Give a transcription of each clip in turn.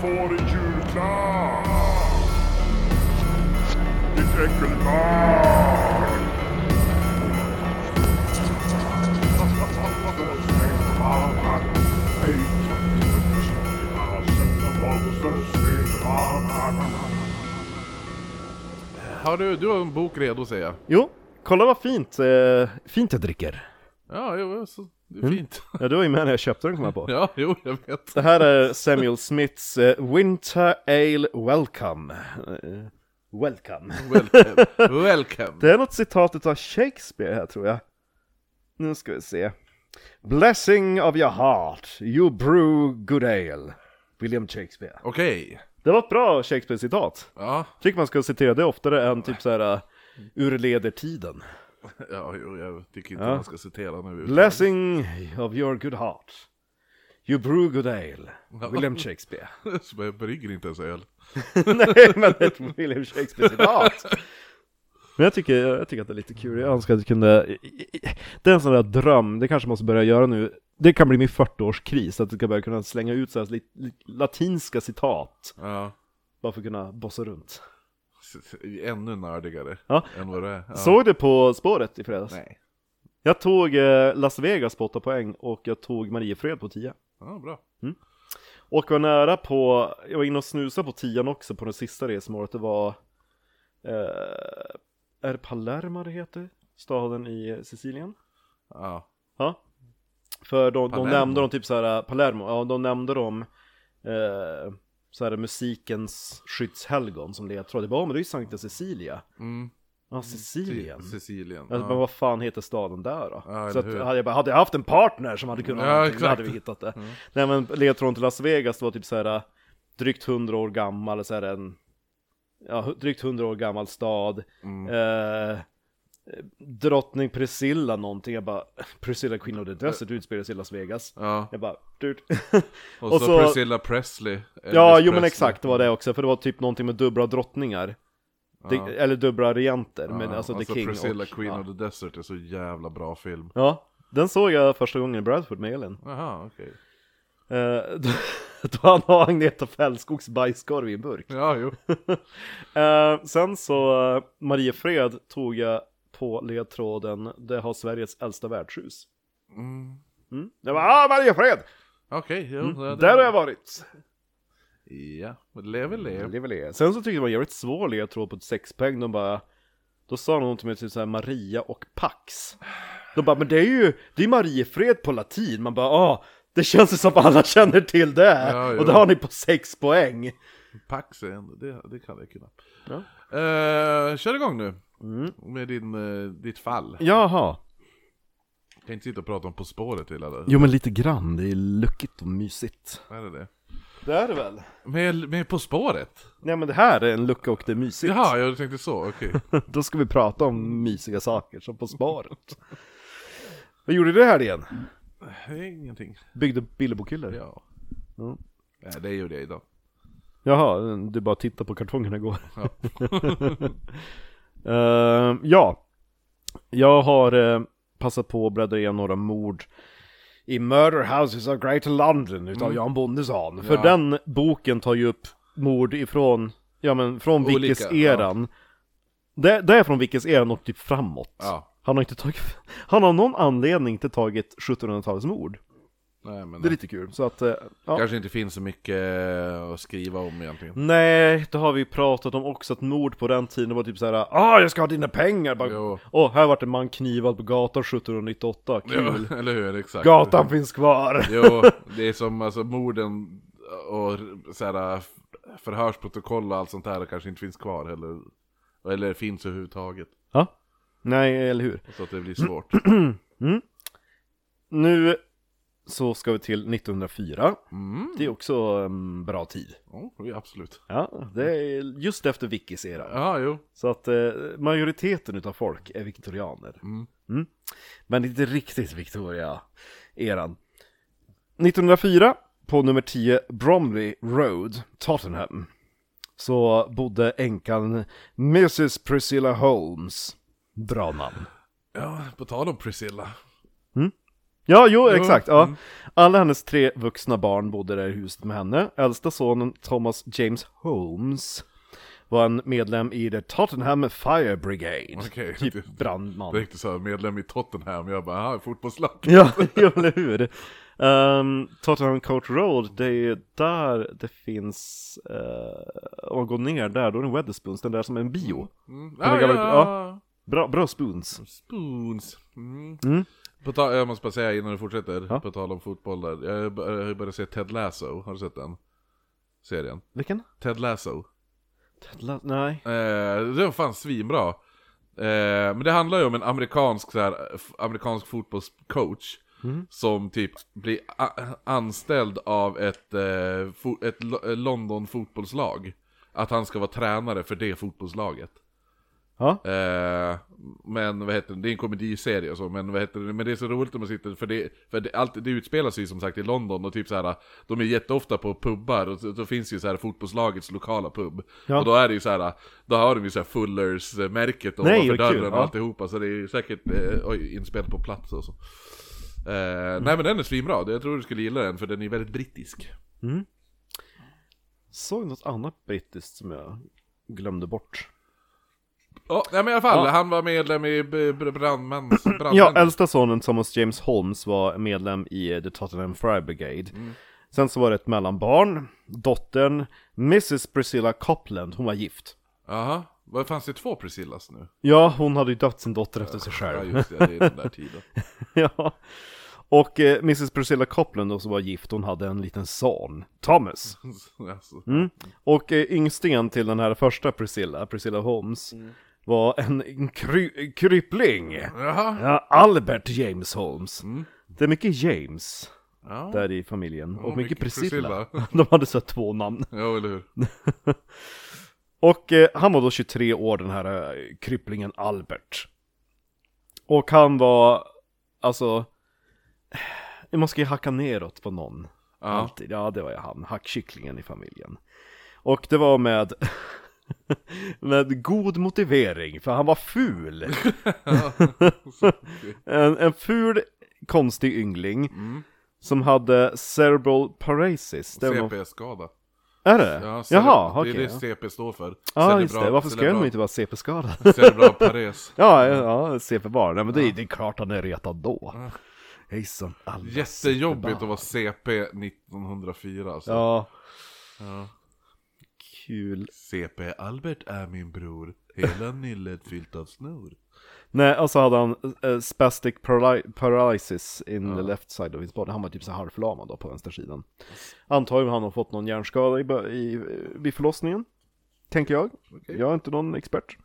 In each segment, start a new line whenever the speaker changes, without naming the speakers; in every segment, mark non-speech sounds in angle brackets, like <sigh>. får i julklapp? Ditt äckelbarn!
Har du, du har en bok redo säger jag.
Jo, kolla vad fint, eh, fint jag dricker.
Ja, jo, så, det
Mm.
är fint. <laughs>
Ja, du var ju med när jag köpte den kom jag på.
Ja, jo, jag vet.
Det här är Samuel Smiths eh, Winter Ale Welcome. Eh, welcome.
Welcome. Welcome.
Det är något citat utav Shakespeare här tror jag. Nu ska vi se. Blessing of your heart, you brew good ale. William Shakespeare.
Okej.
Det var ett bra Shakespeare-citat.
Ja,
Tycker man ska citera det oftare än typ så här eh, ur ledertiden.
ja, jo, jag tycker inte man ska citera nu.
Blessing of your good heart. You brew good ale. William Shakespeare. <laughs>
<laughs> Så jag brygger inte ens öl.
Nej, men det är ett William Shakespeare-citat. Men jag tycker, jag tycker att det är lite kul, jag önskar att jag kunde... Det är en sån där dröm, det kanske måste börja göra nu. Det kan bli min 40-årskris, att jag ska börja kunna slänga ut så här li- li- latinska citat.
Ja.
Bara för att kunna bossa runt.
Ännu nördigare
Ja.
än vad det är. Ja.
Såg du På spåret i fredags?
Nej.
Jag tog eh, Las Vegas på 8 poäng och jag tog Mariefred på 10.
Ja, bra.
Och var nära på, jag var inne och snusade på tian också på det sista resmålet, det var eh, Är det Palermo det heter? Staden i Sicilien?
Ja.
Ja För de, de
Palermo.
nämnde de typ såhär, Palermo, ja de nämnde de eh, såhär musikens skyddshelgon som ledtråd, det var, "Ja, men det är ju Sankta Cecilia
Mm.
Ja, Sicilien
Sicilien.
Alltså,
Ja.
men vad fan heter staden där då?
Ja,
så
eller
att,
hur?
hade, jag bara, hade jag haft en partner som hade kunnat
Ja,
någonting, då
exakt. Mm.
hade vi hittat det. Nej men ledtråden till Las Vegas det var typ så här drygt 100 år gammal, så här en, ja, hu- drygt 100 år gammal stad.
Mm.
Eh, drottning Priscilla någonting, jag bara, Priscilla Queen of the Desert utspelar sig i Las Vegas.
Ja.
Jag bara, dut. <laughs>
Och, så, Priscilla Presley. Elvis
Ja, jo men
Presley.
exakt, det var det också, för det var typ någonting med dubbla drottningar. Det, Eller dubbla regenter, men
Ja,
alltså, The King
Priscilla
och...
Queen
ja.
of the Desert är så jävla bra film.
Ja, den såg jag första gången i Bradford med Elin.
Jaha, okej.
Eh, då, <laughs> då han har Agneta Fällskogs bajskorv i en burk.
Ja, jo.
Eh, sen så, eh, Mariefred tog jag på ledtråden, det har Sveriges äldsta värdshus. Mm. Jag bara, ah Mariefred!
Okej, jo. det-
Mm. Där har jag varit!
Ja, lever lev.
Det är väl det. Sen så tyckte jag det var jävligt svår ledtråd på ett sexpoäng, de bara då sa någon till mig typ såhär Maria och Pax. De bara, men det är ju, det är Mariefred på latin. Man bara, ah, det känns ju som att alla känner till det.
Ja, jo.
och det har ni på sex poäng.
Pax är ändå, det, det kan jag kunna.
Mm. Ja. Mm.
Eh, kör igång nu. Med din, eh, ditt fall.
Jaha.
Jag kan inte sitta och prata om På spåret hela dagen.
Jo men lite grann, det är luckigt och mysigt.
Är det det?
Det är det väl?
Med, med På spåret?
Nej men det här är en lucka och det är mysigt.
Jaha, jag tänkte så, okej.
<laughs> Då ska vi prata om mysiga saker, som På sparet. Vad gjorde du här igen?
Det är Ingenting.
Byggde Billebokyllor?
Ja.
Ja.
Nej, det gjorde jag idag.
Jaha, du bara tittar på kartongerna igår. <laughs> Ja. Ehm, ja, jag har eh, passat på att bläddra igenom några mord i Murder Houses of Greater London utav Jan Bondesson. För
Mm. Ja.
den boken tar ju upp mord ifrån, ja men från
Olika,
Vickes-eran. Det, det är från Vickes-eran och typ framåt.
Ja.
Han har inte tagit, <laughs> han har av någon anledning inte tagit 1700-talets mord.
Nej, men
Det är lite kul, så att, eh, ja.
kanske inte finns så mycket eh, att skriva om egentligen.
Nej, det har vi pratat om också, att mord på den tiden var typ såhär Ah, jag ska ha dina pengar!
Jo.
Bara, Åh, här vart en man knivad på gatan 1798, kul!
Ja, <laughs> eller hur? Exakt.
Gatan finns kvar!
Jo, det är som alltså morden och så här, förhörsprotokoll och allt sånt där kanske inte finns kvar heller. Eller finns överhuvudtaget.
<laughs> Ja, nej, eller hur?
Så att det blir svårt.
Nu så ska vi till 1904 Det är också en bra tid
Mm, Ja, det är absolut.
Ja, det är just efter Vickys era
Ja, jo.
Så att eh, majoriteten utav folk är viktorianer. Mm. Men inte riktigt Victoria-eran. 1904, på nummer 10 Bromley Road, Tottenham, så bodde änkan Mrs Priscilla Holmes. Bra namn.
Ja, på tal om Priscilla.
Ja, jo, mm.
Jo,
exakt. Ja. Alla hennes tre vuxna barn bodde där i huset med henne. Äldsta sonen Thomas James Holmes var en medlem i The Tottenham Fire Brigade.
Okej.
Typ brandman.
Det är inte så här, medlem i Tottenham, jag bara, "Ah, aha, fotbollslag.
<laughs> Ja, <laughs> ja, eller hur? Um, Tottenham Court Road, det är ju där det finns, eh, om man går ner där, då är det Wetherspoons, den där som är en bio.
Mm.
Den
Ah,
gamla-
ja.
Bra, bra spoons.
Spoons. Mm.
Mm.
På ta- jag måste bara säga innan du fortsätter,
Ja.
på tal om fotboll där. Jag bör- jag har ju börjat se Ted Lasso, har du sett den? Serien?
Vilken?
Ted Lasso.
Ted La- Nej.
Eh, det var fan svinbra. Eh, men det handlar ju om en amerikansk, så här, f- amerikansk fotbollscoach. Som typ blir a- anställd av ett, eh, fo- ett Lo- eh, London fotbollslag. Att han ska vara tränare för det fotbollslaget.
Ja.
Eh, men vad heter det, det är en komediserie och så, men vad heter det, men det är så roligt när man sitter, för det, för det, allt, det utspelar sig ju som sagt i London och typ så här, de är jätteofta på pubbar och så- då finns ju så här fotbollslagets lokala pub.
Ja.
Och då är det ju så här, då har de ju så här Fullers-märket och
Nej,
ovanför
vad kul,
dörren och
ja.
alltihopa, så det är ju säkert eh, oj, inspelat på plats och så. Eh, Nej men den är svinbra, jag tror du skulle gilla den för den är väldigt brittisk.
Såg något annat brittiskt som jag glömde bort.
Ja, nej men i alla fall,
Ja.
han var medlem i b- b- brandmans... brandmän.
<clears throat> Ja, äldsta sonen Thomas James Holmes var medlem i eh, The Tottenham Fire Brigade. Sen så var det ett mellanbarn, dottern, Mrs Priscilla Copland, hon var gift.
Jaha, vad fanns det två Priscillas nu?
Ja, hon hade ju dött sin dotter efter sig
Ja
själv.
just det, det är den där
<laughs>
tiden.
ja. Och eh, Mrs Priscilla Copland då som var gift, hon hade en liten son, Thomas.
alltså.
Mm. Och eh, yngstingen till den här första Priscilla, Priscilla Holmes,
Mm.
var en, en kry- krypling.
Jaha.
Ja, Albert James Holmes.
Mm.
Det är mycket James
Ja.
där i familjen. Och mycket
mycket
Priscilla.
Priscilla.
<laughs> De hade så här två namn.
ja, eller hur?
Och eh, han var då 23 år, den här eh, krypplingen Albert. Och han var, alltså, man ska ju hacka neråt på någon.
Ja.
Alltid. Ja, det var ju han, hackkycklingen i familjen. Och det var med, <laughs> med god motivering, för han
<laughs>
var ful. <laughs> en, en ful, konstig yngling.
Mm.
Som hade cerebral paralysis. Det var någon-
CP-skada.
Är det?
Ja, cere-
Jaha, okej.
Det är det
ja.
CP står för.
Ja,
Cerebral-
just det. Varför ska
cerebral-
jag inte vara CP-skadad?
Cerebral pares.
<laughs> Ja, ja, ja, CP bara. Nej men det, är- det är klart han är retad då. Hejsan alla
Jättejobbigt att
CP-barn.
vara CP 1904 alltså.
Ja. Kul.
CP Albert är min bror.
<laughs>
Hela nyllet fyllt av snor.
Nej, och så hade han eh, spastic paraly- paralysis in the left side of his body. Han var typ så här halvförlamad då på vänstersidan. Antagligen han har fått någon hjärnskada i, bö- i, vid förlossningen. Tänker jag. Jag är inte någon expert.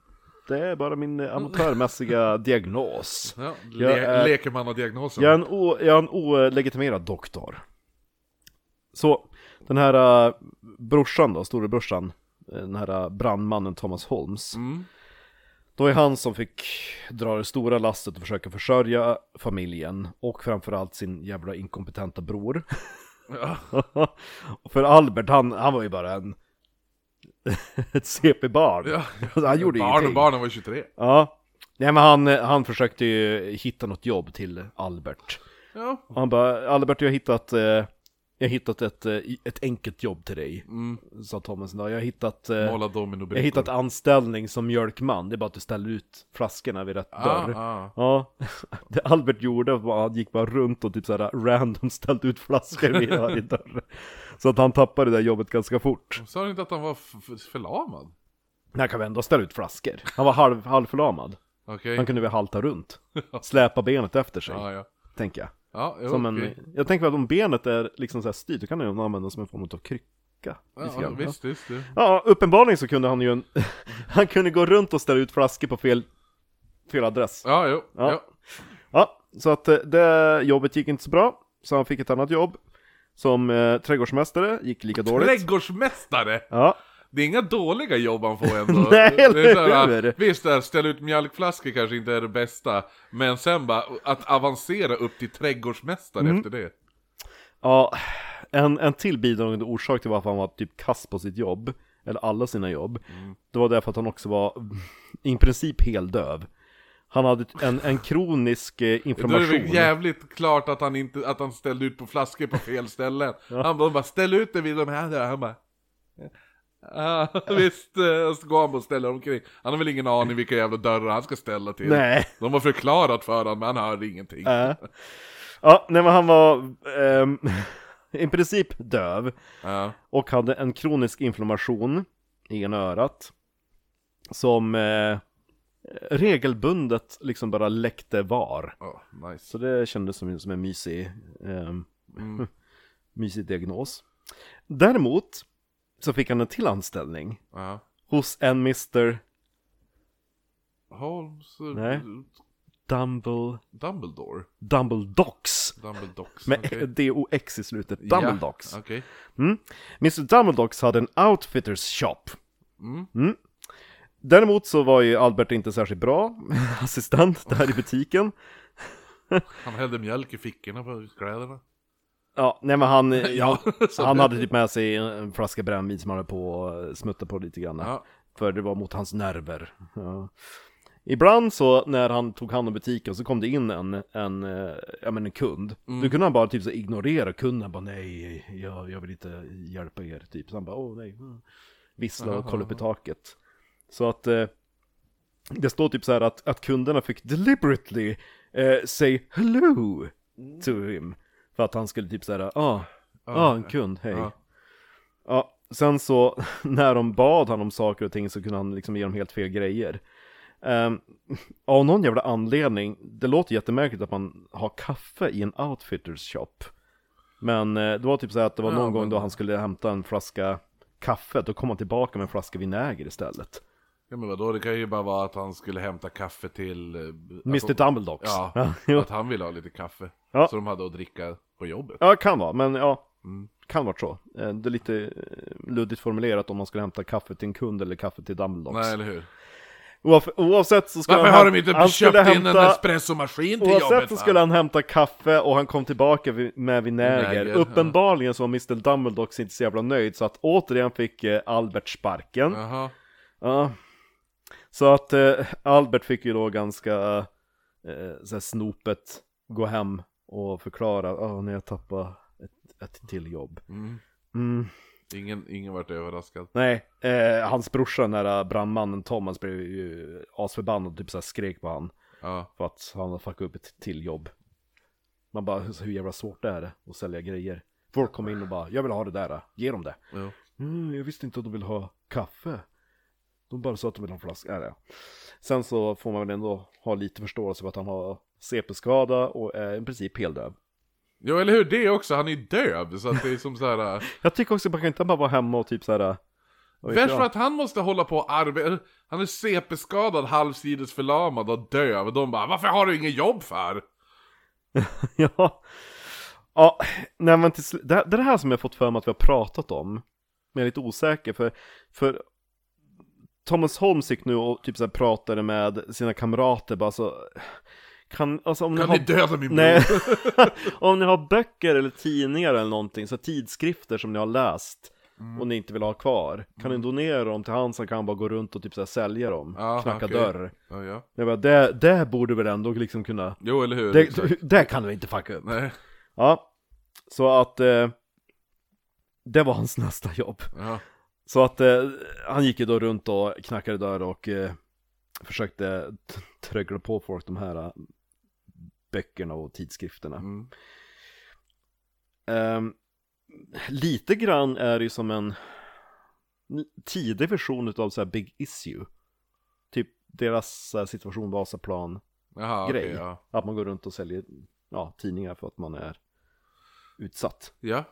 Det är bara min eh, amatörmässiga diagnos.
Ja, le-
Jag är-
Leker man av diagnosen?
Jag är en, o, jag är en olegitimerad doktor. Så, den här uh, brorsan då, storebrorsan, eh, den här eh, brandmannen Thomas Holmes.
Mm.
Då är han som fick dra det stora lastet och försöka försörja familjen och framförallt sin jävla inkompetenta bror.
Ja.
Och <laughs> För Albert, han, han var ju bara en... <laughs> ett CP-barn.
<laughs> Ja.
<laughs> Han gjorde
Barn,
ingenting.
barnen var 23.
Ja. Nej men han, eh, han försökte ju hitta något jobb till Albert.
Ja.
Och han bara, Albert jag har hittat, eh, jag har hittat ett, eh, ett enkelt jobb till dig. Sa Thomas idag. Jag har hittat, eh, jag
Mm. Måla dominobrickor.
har hittat anställning som mjölkman. Det är bara att du ställer ut flaskorna vid rätt
ah,
dörr.
ah.
Ja, <laughs> det Albert gjorde var att han gick bara runt och typ såhär random ställde ut flaskor vid
<laughs>
varje dörr. Så att han tappade det där jobbet ganska fort.
Sa du inte att han var f- f- förlamad?
Men han kan väl ändå ställa ut flaskor? Han var halv, halvförlamad.
Okej.
Han kunde väl
<laughs>
halta runt. Släpa benet efter sig,
Ja, ja.
tänker jag.
Ja, jo,
Som
okej.
en, jag tänker att om benet är liksom så här styrt, då kan det ju användas som en form av krycka. lite
Ja, ja,
grann, va?
visst, visst. det.
ja, uppenbarligen så kunde han ju en, <laughs> Han kunde gå runt och ställa ut flaskor på fel, fel adress.
Ja, jo.
Ja.
Ja.
Ja, så att eh, det jobbet gick inte så bra, så han fick ett annat jobb. Som eh, trädgårdsmästare, gick lika dåligt.
Trädgårdsmästare!
Ja,
Det är inga dåliga jobb han får ändå.
<laughs> Nej,
Det är
eller
så här,
hur?
Visst, där, ställa ut mjölkflaskor kanske inte är det bästa, men sen bara att avancera upp till trädgårdsmästare
Mm.
efter det.
ja en, en till bidragande orsak till varför han var typ kass på sitt jobb,
Mm.
<laughs> eller alla sina jobb, det var därför att han också var i princip heldöv. Han hade en, en kronisk eh,
Då är det
inflammation.
väl jävligt klart att han, inte, att han ställde ut på flaskor på
<laughs>
fel ställen. Han bara, bara, ställ ut det vid de här där. Han bara, ja <laughs> visst. eh, Och så går han bara och ställer omkring. Han har väl ingen aning vilka jävla dörrar han ska ställa till.
Nej. <laughs>
De har förklarat för honom, men han hörde ingenting.
Äh. Ja, nej men han var ehm, <laughs> i princip döv
Ja.
och hade en kronisk inflammation i ena örat som eh, regelbundet liksom bara läckte var.
Ja, nice.
Så det kändes som, som en mysig, ehm,
Mm.
mysig diagnos. Däremot så fick han en till anställning
Ja.
hos en Mr.
Holmes... eh,
Nej. Dumble,
Dumbledore?
Dumbledox
Dumbledox?
med
okej.
D-O-X i slutet, eh, Dumbledox.
Ja, okej.
Mm. Mr. Dumbledox hade en outfitters shop. Mm. Däremot så var ju Albert inte särskilt bra <laughs> assistent där i butiken.
Han hällde mjölk i fickorna på kläderna.
Ja, nej men han,
<laughs> Ja, så-
han hade typ med sig en flaska brännvin som han höll på och smuttade på lite grann.
Ja.
För det var mot hans nerver. Ja. Ibland så när han tog hand om butiken så kom det in en, en, eh, ja, men en kund. Då kunde han bara typ så ignorera kunden. Bara nej, jag, jag vill inte hjälpa er. Typ. Så han bara åh nej. mm. Vissla och kolla upp i taket. Så att eh, det står typ så här att, att kunderna fick deliberately eh, say hello to him. För att han skulle typ så här, ah, ah, en kund, hej.
Ja.
Ja, sen så <laughs> när de bad han om saker och ting så kunde han liksom ge dem helt fel grejer. Um, <laughs> av någon jävla anledning, det låter jättemärkligt att man har kaffe i en outfitters shop. Men eh, det var typ så här att det var
Ja,
någon gång
men-
då han skulle hämta en flaska kaffe, då kom han tillbaka med en flaska vinäger istället.
ja, men vadå? Det kan ju bara vara att han skulle hämta kaffe till... eh,
Mr Dumbledox. <laughs>
Ja,
jo.
att han ville ha lite kaffe.
Ja.
Så de hade att dricka på jobbet.
Ja, kan vara, men ja.
Mm.
Kan vara så. Eh, Det är lite eh, luddigt formulerat om man skulle hämta kaffe till en kund eller kaffe till Dumbledox.
Nej, eller hur?
Oaf oavsett så skulle
Varför
han,
har de inte
han
köpt
skulle
in
hämta,
en espressomaskin till
Oavsett
jobbet?
så
va?
skulle han hämta kaffe och han kom tillbaka vi- med vinäger.
Vinäger, ja.
Uppenbarligen så var Mr Dumbledox inte så jävla nöjd så att återigen fick eh, Albert sparken. Ja.
Jaha.
Så att eh, Albert fick ju då ganska eh, så här snopet gå hem och förklara, åh när jag tappade ett, ett till jobb. Mm.
Ingen, ingen vart överraskad.
Nej, eh, hans brorsa, den där brandmannen Thomas blev ju asförbannad och typ så här skrek på han.
Ja.
För att han har fuckat upp ett till jobb. Man bara, hur hur jävla svårt är det att sälja grejer? Folk kommer in och bara, jag vill ha det där, ge dem det.
Jo.
Mm, jag visste inte att de ville ha kaffe. De bara sa att de ville ha en flaska. Ja, ja. Sen så får man väl ändå ha lite förståelse för att han har CP-skada och är i princip heldöv.
jo, eller hur? Det också. Han är döv. Så att det är som så här...
<laughs>
äh,
Jag tycker också att man kan inte bara vara hemma och typ så här. vad vet
Värst
jag?
för att han måste hålla på och arbeta, han är CP-skadad, halvsides förlamad och döv. Och de bara 'Varför har du inget jobb för?'
<laughs> Ja. Ja, nej men till sl- det, här- det är det här som jag fått för mig att vi har pratat om. Men jag är lite osäker för, för Thomas Holmes gick nu och typ så här pratade med sina kamrater bara så kan, alltså om
Kan
ni
ni
har,
döda min bror?
<laughs> nej, <laughs> om ni har böcker eller tidningar eller någonting, så här tidskrifter som ni har läst
Mm.
och ni inte vill ha kvar, kan ni donera dem till han som kan bara gå runt och typ så här sälja dem,
Ja,
knacka
okej.
dörr.
Ja, ja.
Jag bara, det, det borde väl ändå liksom kunna,
Jo, eller hur?
det, <laughs>
Exakt.
det kan du inte fucka upp.
Nej.
Ja, så att eh, det var hans nästa jobb.
Ja.
Så att eh, han gick ju då runt och knackade dörr och eh, försökte t- trögla på folk de här eh, böckerna och tidskrifterna.
Mm.
Ehm, lite grann är det ju som en n- tidig version utav så här Big Issue. Typ deras så här, situation Vasaplan
Jaha, okej,
grej.
ja.
Att man går runt och säljer ja, tidningar för att man är utsatt.
ja.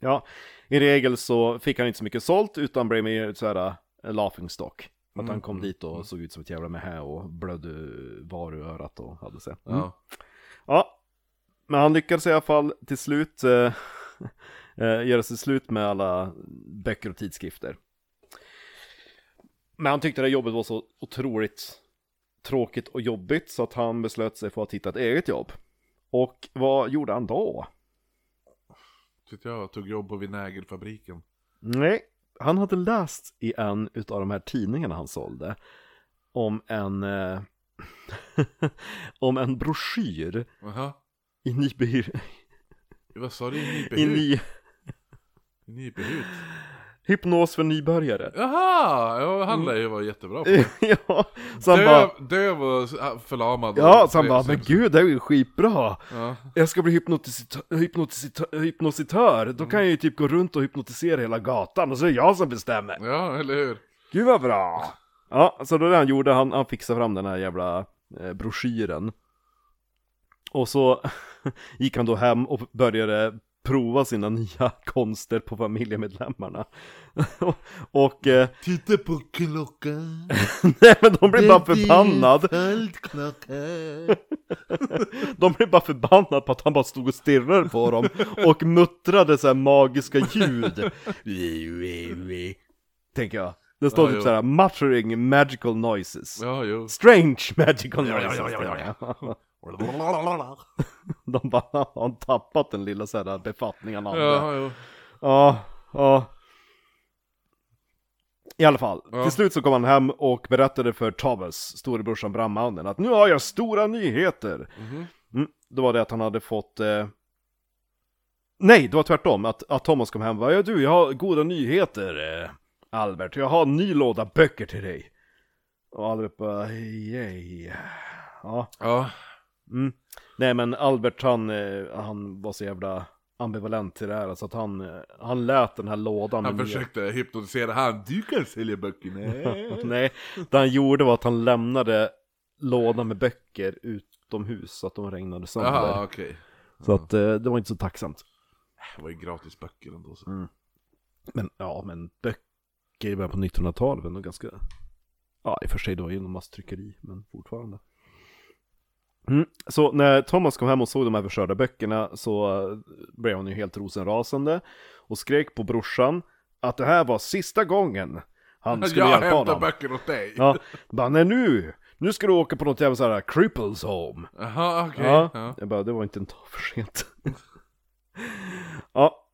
Ja, i regel så fick han inte så mycket sålt utan blev mer ett så här en laughing stock. Att han kom dit och såg ut som ett jävla mähä och blödde var ur örat och hade sig. Mm.
Ja.
Ja, men han lyckades i alla fall till slut eh, <laughs> eh, göra sig slut med alla böcker och tidskrifter. Men han tyckte det här jobbet var så otroligt tråkigt och jobbigt så att han beslöt sig för att hitta ett eget jobb. Och vad gjorde han då?
Tyckte jag tog jobb på vinägerfabriken.
Nej, han hade läst i en utav de här tidningarna han sålde om en eh, <laughs> om en broschyr
Aha.
i Nybyhud.
Vad sa du? I
I
Nypehut?
ny...
I Nypehut?
Hypnos för nybörjare. <laughs>
Jaha! Ja, han lär ju vara jättebra på det.
ja, så Mm. <laughs> han bara...
Döv, döv och s- ah, förlamad.
Ja,
och-
så han bara, men gud, det här är ju skitbra!
Ja.
Jag ska bli hypnotisitör, hypnotisitör, hypnotisitör. då kan jag ju typ gå runt och hypnotisera hela gatan och så är det jag som bestämmer.
ja, eller hur?
Gud vad bra! Ja, så då det han gjorde, han, han fixade fram den här jävla eh, broschyren. Och så <laughs> gick han då hem och började prova sina <laughs> nya konster på familjemedlemmarna. <laughs> och, eh, <laughs>
Titta på klockan.
nej men de blev bara förbannad.
Fältklockan.
De blev bara förbannade på att han bara stod och stirrade
<laughs>
på dem och muttrade så här magiska ljud. Tänker jag. Det står
Ja,
typ
jo.
så här, muttering magical noises.
Ja, jo.
Strange magical noises.
ja, ja,
De bara, har han tappat den lilla så här befattningen han hade?
Ja, jo.
Ja, ja. I alla fall,
Ja.
till slut så kom han hem och berättade för Thomas, storebrorsan brandmannen, att nu har jag stora nyheter.
Mhm.
Mm, det var det att han hade fått... Eh... Nej, det var tvärtom, att, att Thomas kom hem och bara, ja du, jag har goda nyheter, eh, Albert, jag har en ny låda böcker till dig. Och Albert bara, yay. Ja.
Ja,
Mm. Nej men Albert han, eh, han var så jävla ambivalent till det här, så att han, eh, han lät den här lådan
han
med-
försökte hypnotisera han. Du kan sälja böckerna.
<laughs> Nej, det han gjorde var att han lämnade lådan med böcker utomhus så att de regnade sönder.
Jaha, okej.
Så att eh, det var inte så tacksamt.
Det var ju gratis böcker ändå. Så.
Men ja, men böcker i början på 1900-talet var ändå ganska... Ja, i och för sig det var ju någon masstryckeri, men fortfarande. Mm. Så när Thomas kom hem och såg de här förstörda böckerna så eh, blev han ju helt rosenrasande och skrek på brorsan att det här var sista gången han skulle
Jag
hjälpa
hämtar
honom.
böcker åt dig.
Ja, bara nej nu! Nu ska du åka på något jävla såhär cripples home.
Jaha, okej.
Ja,
Ja.
jag bara, det var inte en dag för
<laughs>
sent. ja.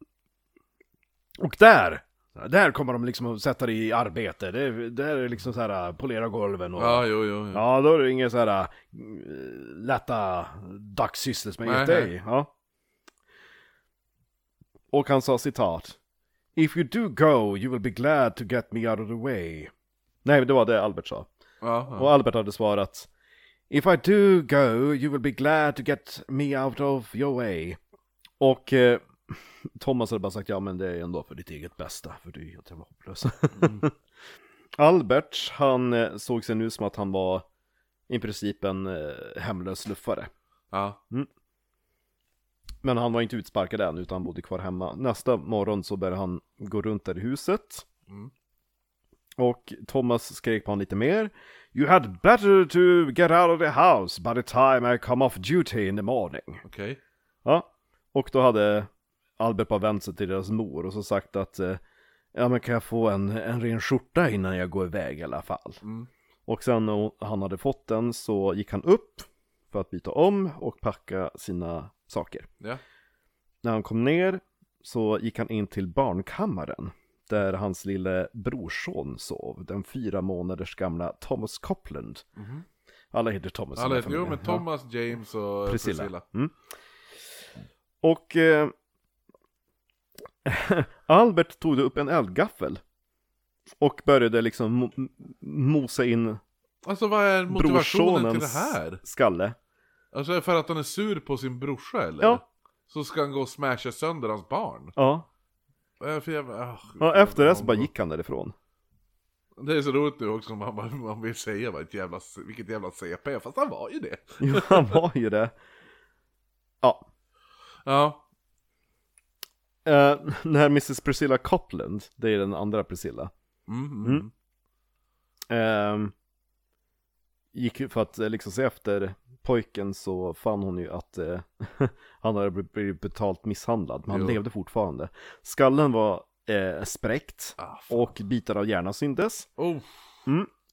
Och där, där kommer de liksom att sätta dig i arbete. Det, där är liksom så här, polera golven och...
ja, jo, jo. jo.
Ja, då är det inga så här eh, lätta dagssysslor som är
Nej,
gett
nej.
dig. Ja. Och han sa citat. If you do go you will be glad to get me out of the way. Nej, det var det Albert sa.
Ja, ja.
Och Albert hade svarat If I do go you will be glad to get me out of your way. Och eh, <laughs> Thomas hade bara sagt ja men det är ändå för ditt eget bästa för du är helt jävla hopplös. <laughs> Albert han eh, såg sig nu som att han var i princip en eh, hemlös luffare.
ja.
Men han var inte utsparkad än utan han bodde kvar hemma. Nästa morgon så började han gå runt där i huset.
Mm.
Och Thomas skrek på honom lite mer. You had better to get out of the house by the time I come off duty in the morning.
Okej.
Ja, och då hade Albert bara vänt sig till deras mor och så sagt att eh, ja men kan jag få en, en ren skjorta innan jag går iväg i alla fall.
Mm.
Och sen när han hade fått den så gick han upp för att byta om och packa sina saker.
Ja.
När han kom ner så gick han in till barnkammaren där hans lille brorson sov, den fyra månaders gamla Thomas Copland. Alla heter Thomas. i den
Alla
här
heter, Alltså, jo
familjen.
men
Ja.
Thomas, James och eh,
Priscilla.
Priscilla.
Mm. Och eh, <laughs> Albert tog då upp en eldgaffel och började liksom mo- mosa in
Alltså vad är motivationen till det
brorsonens
här?
skalle.
Alltså för att han är sur på sin brorsa eller?
Ja.
Så ska han gå och smasha sönder hans barn?
Ja.
Vad är det för jävla... ah,
ja, efter det så bara gick han därifrån. <laughs>
Det är så roligt nu också, man, man, man vill säga vad ett jävla, vilket jävla CP, fast han var ju det.
Jo, han var ju det. Ja,
Ja,
Eh, <laughs> den här Mrs Priscilla Copland, det är den andra Priscilla,
mm, mm.
Mm. ehm, gick ju för att eh, liksom se efter pojken så fann hon ju att eh, <laughs> han hade bl- blivit betalt misshandlad, men han
Jo.
levde fortfarande. Skallen var eh, spräckt
Ah, fan.
och bitar av hjärnan syndes.
oh,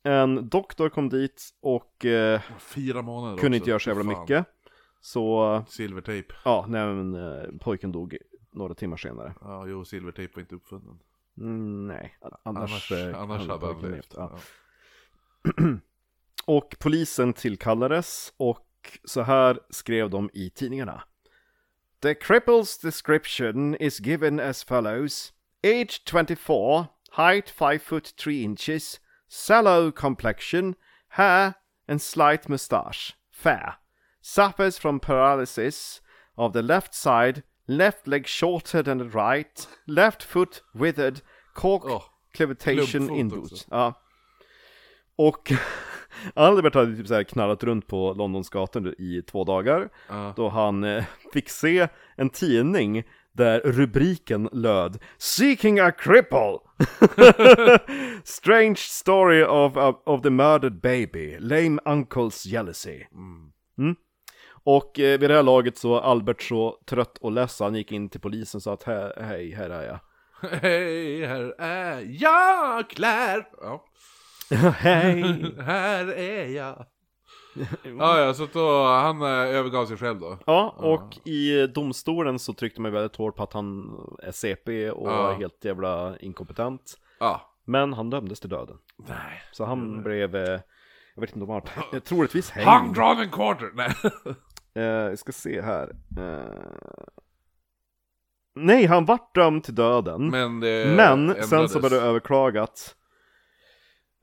En doktor kom dit och eh,
fyra månader också.
kunde inte göra så jävla
Fan.
mycket. Så,
Silvertejp.
ja, nej, men eh, pojken dog några timmar senare.
Ja, jo, silvertejp var inte uppfunnen.
Mm, nej, annars,
Annars,
eh,
annars hade han
pojken
levt.
Ja.
Ja.
Och polisen tillkallades och så här skrev de i tidningarna. The cripple's description is given as follows. Age 24, height 5 foot 3 inches, sallow complexion, hair and slight mustache, fair. Suffers from paralysis of the left side, left leg shorter than the right, left foot withered, cork
Åh,
cavitation
klubbfot
inboots.
också.
Ja. Och <laughs> Albert hade typ så här knallat runt på Londons gator i två dagar.
Ja.
Då han eh, <laughs> fick se en tidning där rubriken löd Seeking a cripple! <laughs> Strange story of, of, of the murdered baby, lame uncle's jealousy. Mm. Och eh, vid det här laget så var Albert så trött och less, han gick in till polisen och sa att "Hej, hej, här
<laughs>
är jag.
<laughs>
<laughs>
Hej, här är jag, Claire! Ja.
hej!
<laughs> Här är jag. <laughs> ja, ja, så att då, han eh, övergav sig själv då.
Ja, och i domstolen så tryckte man väldigt hårt på att han är CP och
Ja.
helt jävla inkompetent.
Ja.
Men han dömdes till döden.
Nej.
Så han blev, eh, jag vet inte om han, eh, <laughs> troligtvis
Han
hängd.
drar en quarter! Nej.
Eh, jag ska se här. Eh... Nej, han vart dömd till döden. Mm. Men,
Men det
sen så
ändrades.
blev det överklagat.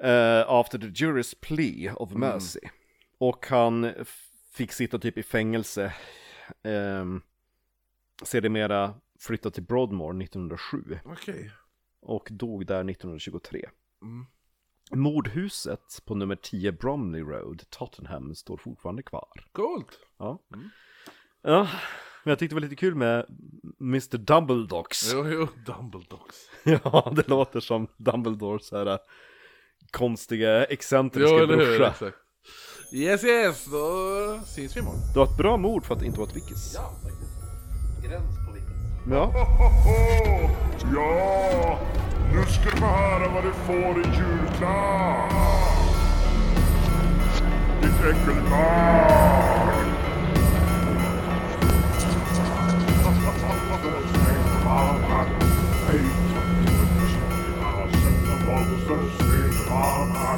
eh, after the jury's plea
Mm.
of mercy. Och han f- fick sitta typ i fängelse. Um, sedermera flyttade till Broadmoor 1907
Okej.
och dog där 1923.
Mm.
Mordhuset på nummer 10 Bromley Road, Tottenham, står fortfarande kvar.
Coolt.
Ja.
Mm.
ja, men jag tyckte det var lite kul med Mr. Dumbledox.
Jo, jo, Dumbledogs.
<laughs> Ja, det låter som Dumbledores så här äh, konstiga, excentriska
Jo, eller hur?
brorsa.
Exakt. Yes, yes, då syns vi imorgon.
Det var ett bra mord för att inte vara ett vickis.
Ja, Gräns på vippen.
Ja.
Hoho! Ja, nu ska du få höra vad du får i julklapp. Ditt äckelbarn.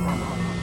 Hej,